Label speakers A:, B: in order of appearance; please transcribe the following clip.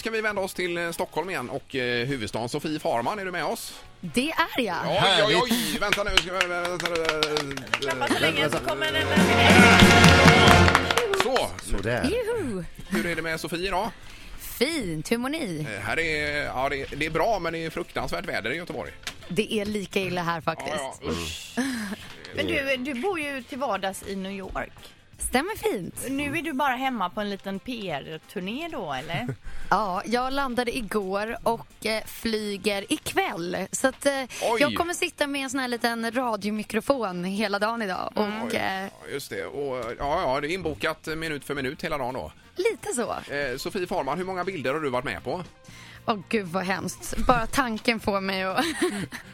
A: ska vi vända oss till eh, Stockholm igen och eh, huvudstaden. Sofie Farman, är du med oss?
B: Det är jag.
A: Oj, oj,
C: Härligt.
A: oj! Vänta nu. Ska vi, vänta,
D: Klappa
A: vänta,
D: så länge så
C: vänta.
D: kommer den
A: så,
C: Sådär.
B: Juhu.
A: hur är det med Sofie idag?
B: Fint, hur mår ni?
A: Eh, Här är, ja, det, det är bra, men det är fruktansvärt väder i Göteborg.
B: Det är lika illa här faktiskt.
A: Ja, ja, usch.
D: Men du, du bor ju till vardags i New York.
B: Stämmer fint.
D: Nu är du bara hemma på en liten PR-turné då eller?
B: Ja, jag landade igår och eh, flyger ikväll. Så att, eh,
A: Oj.
B: jag kommer sitta med en sån här liten radiomikrofon hela dagen idag.
A: Mm.
B: Och eh,
A: Ja, Just det. Och, ja, ja, det är inbokat minut för minut hela dagen då.
B: lite så.
A: Eh, Sofie Farman, hur många bilder har du varit med på?
B: Åh gud vad hemskt. Bara tanken får mig att